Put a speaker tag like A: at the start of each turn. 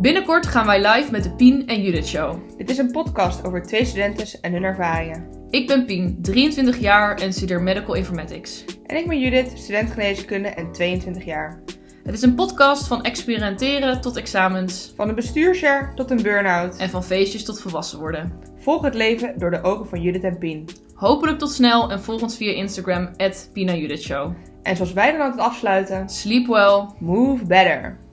A: Binnenkort gaan wij live met de Pien en Judith Show.
B: Dit is een podcast over twee studentes en hun ervaringen.
A: Ik ben Pien, 23 jaar en studeer Medical Informatics.
B: En ik ben Judith, student geneeskunde en 22 jaar.
A: Het is een podcast van experimenteren tot examens
B: Van een bestuursjaar tot een burn-out.
A: en van feestjes tot volwassen worden.
B: Volg het leven door de ogen van Judith en Pien.
A: Hopelijk tot snel en volg ons via Instagram, at Pien en Judith Show.
B: En zoals wij dan altijd afsluiten,
A: Sleep well.
B: move better.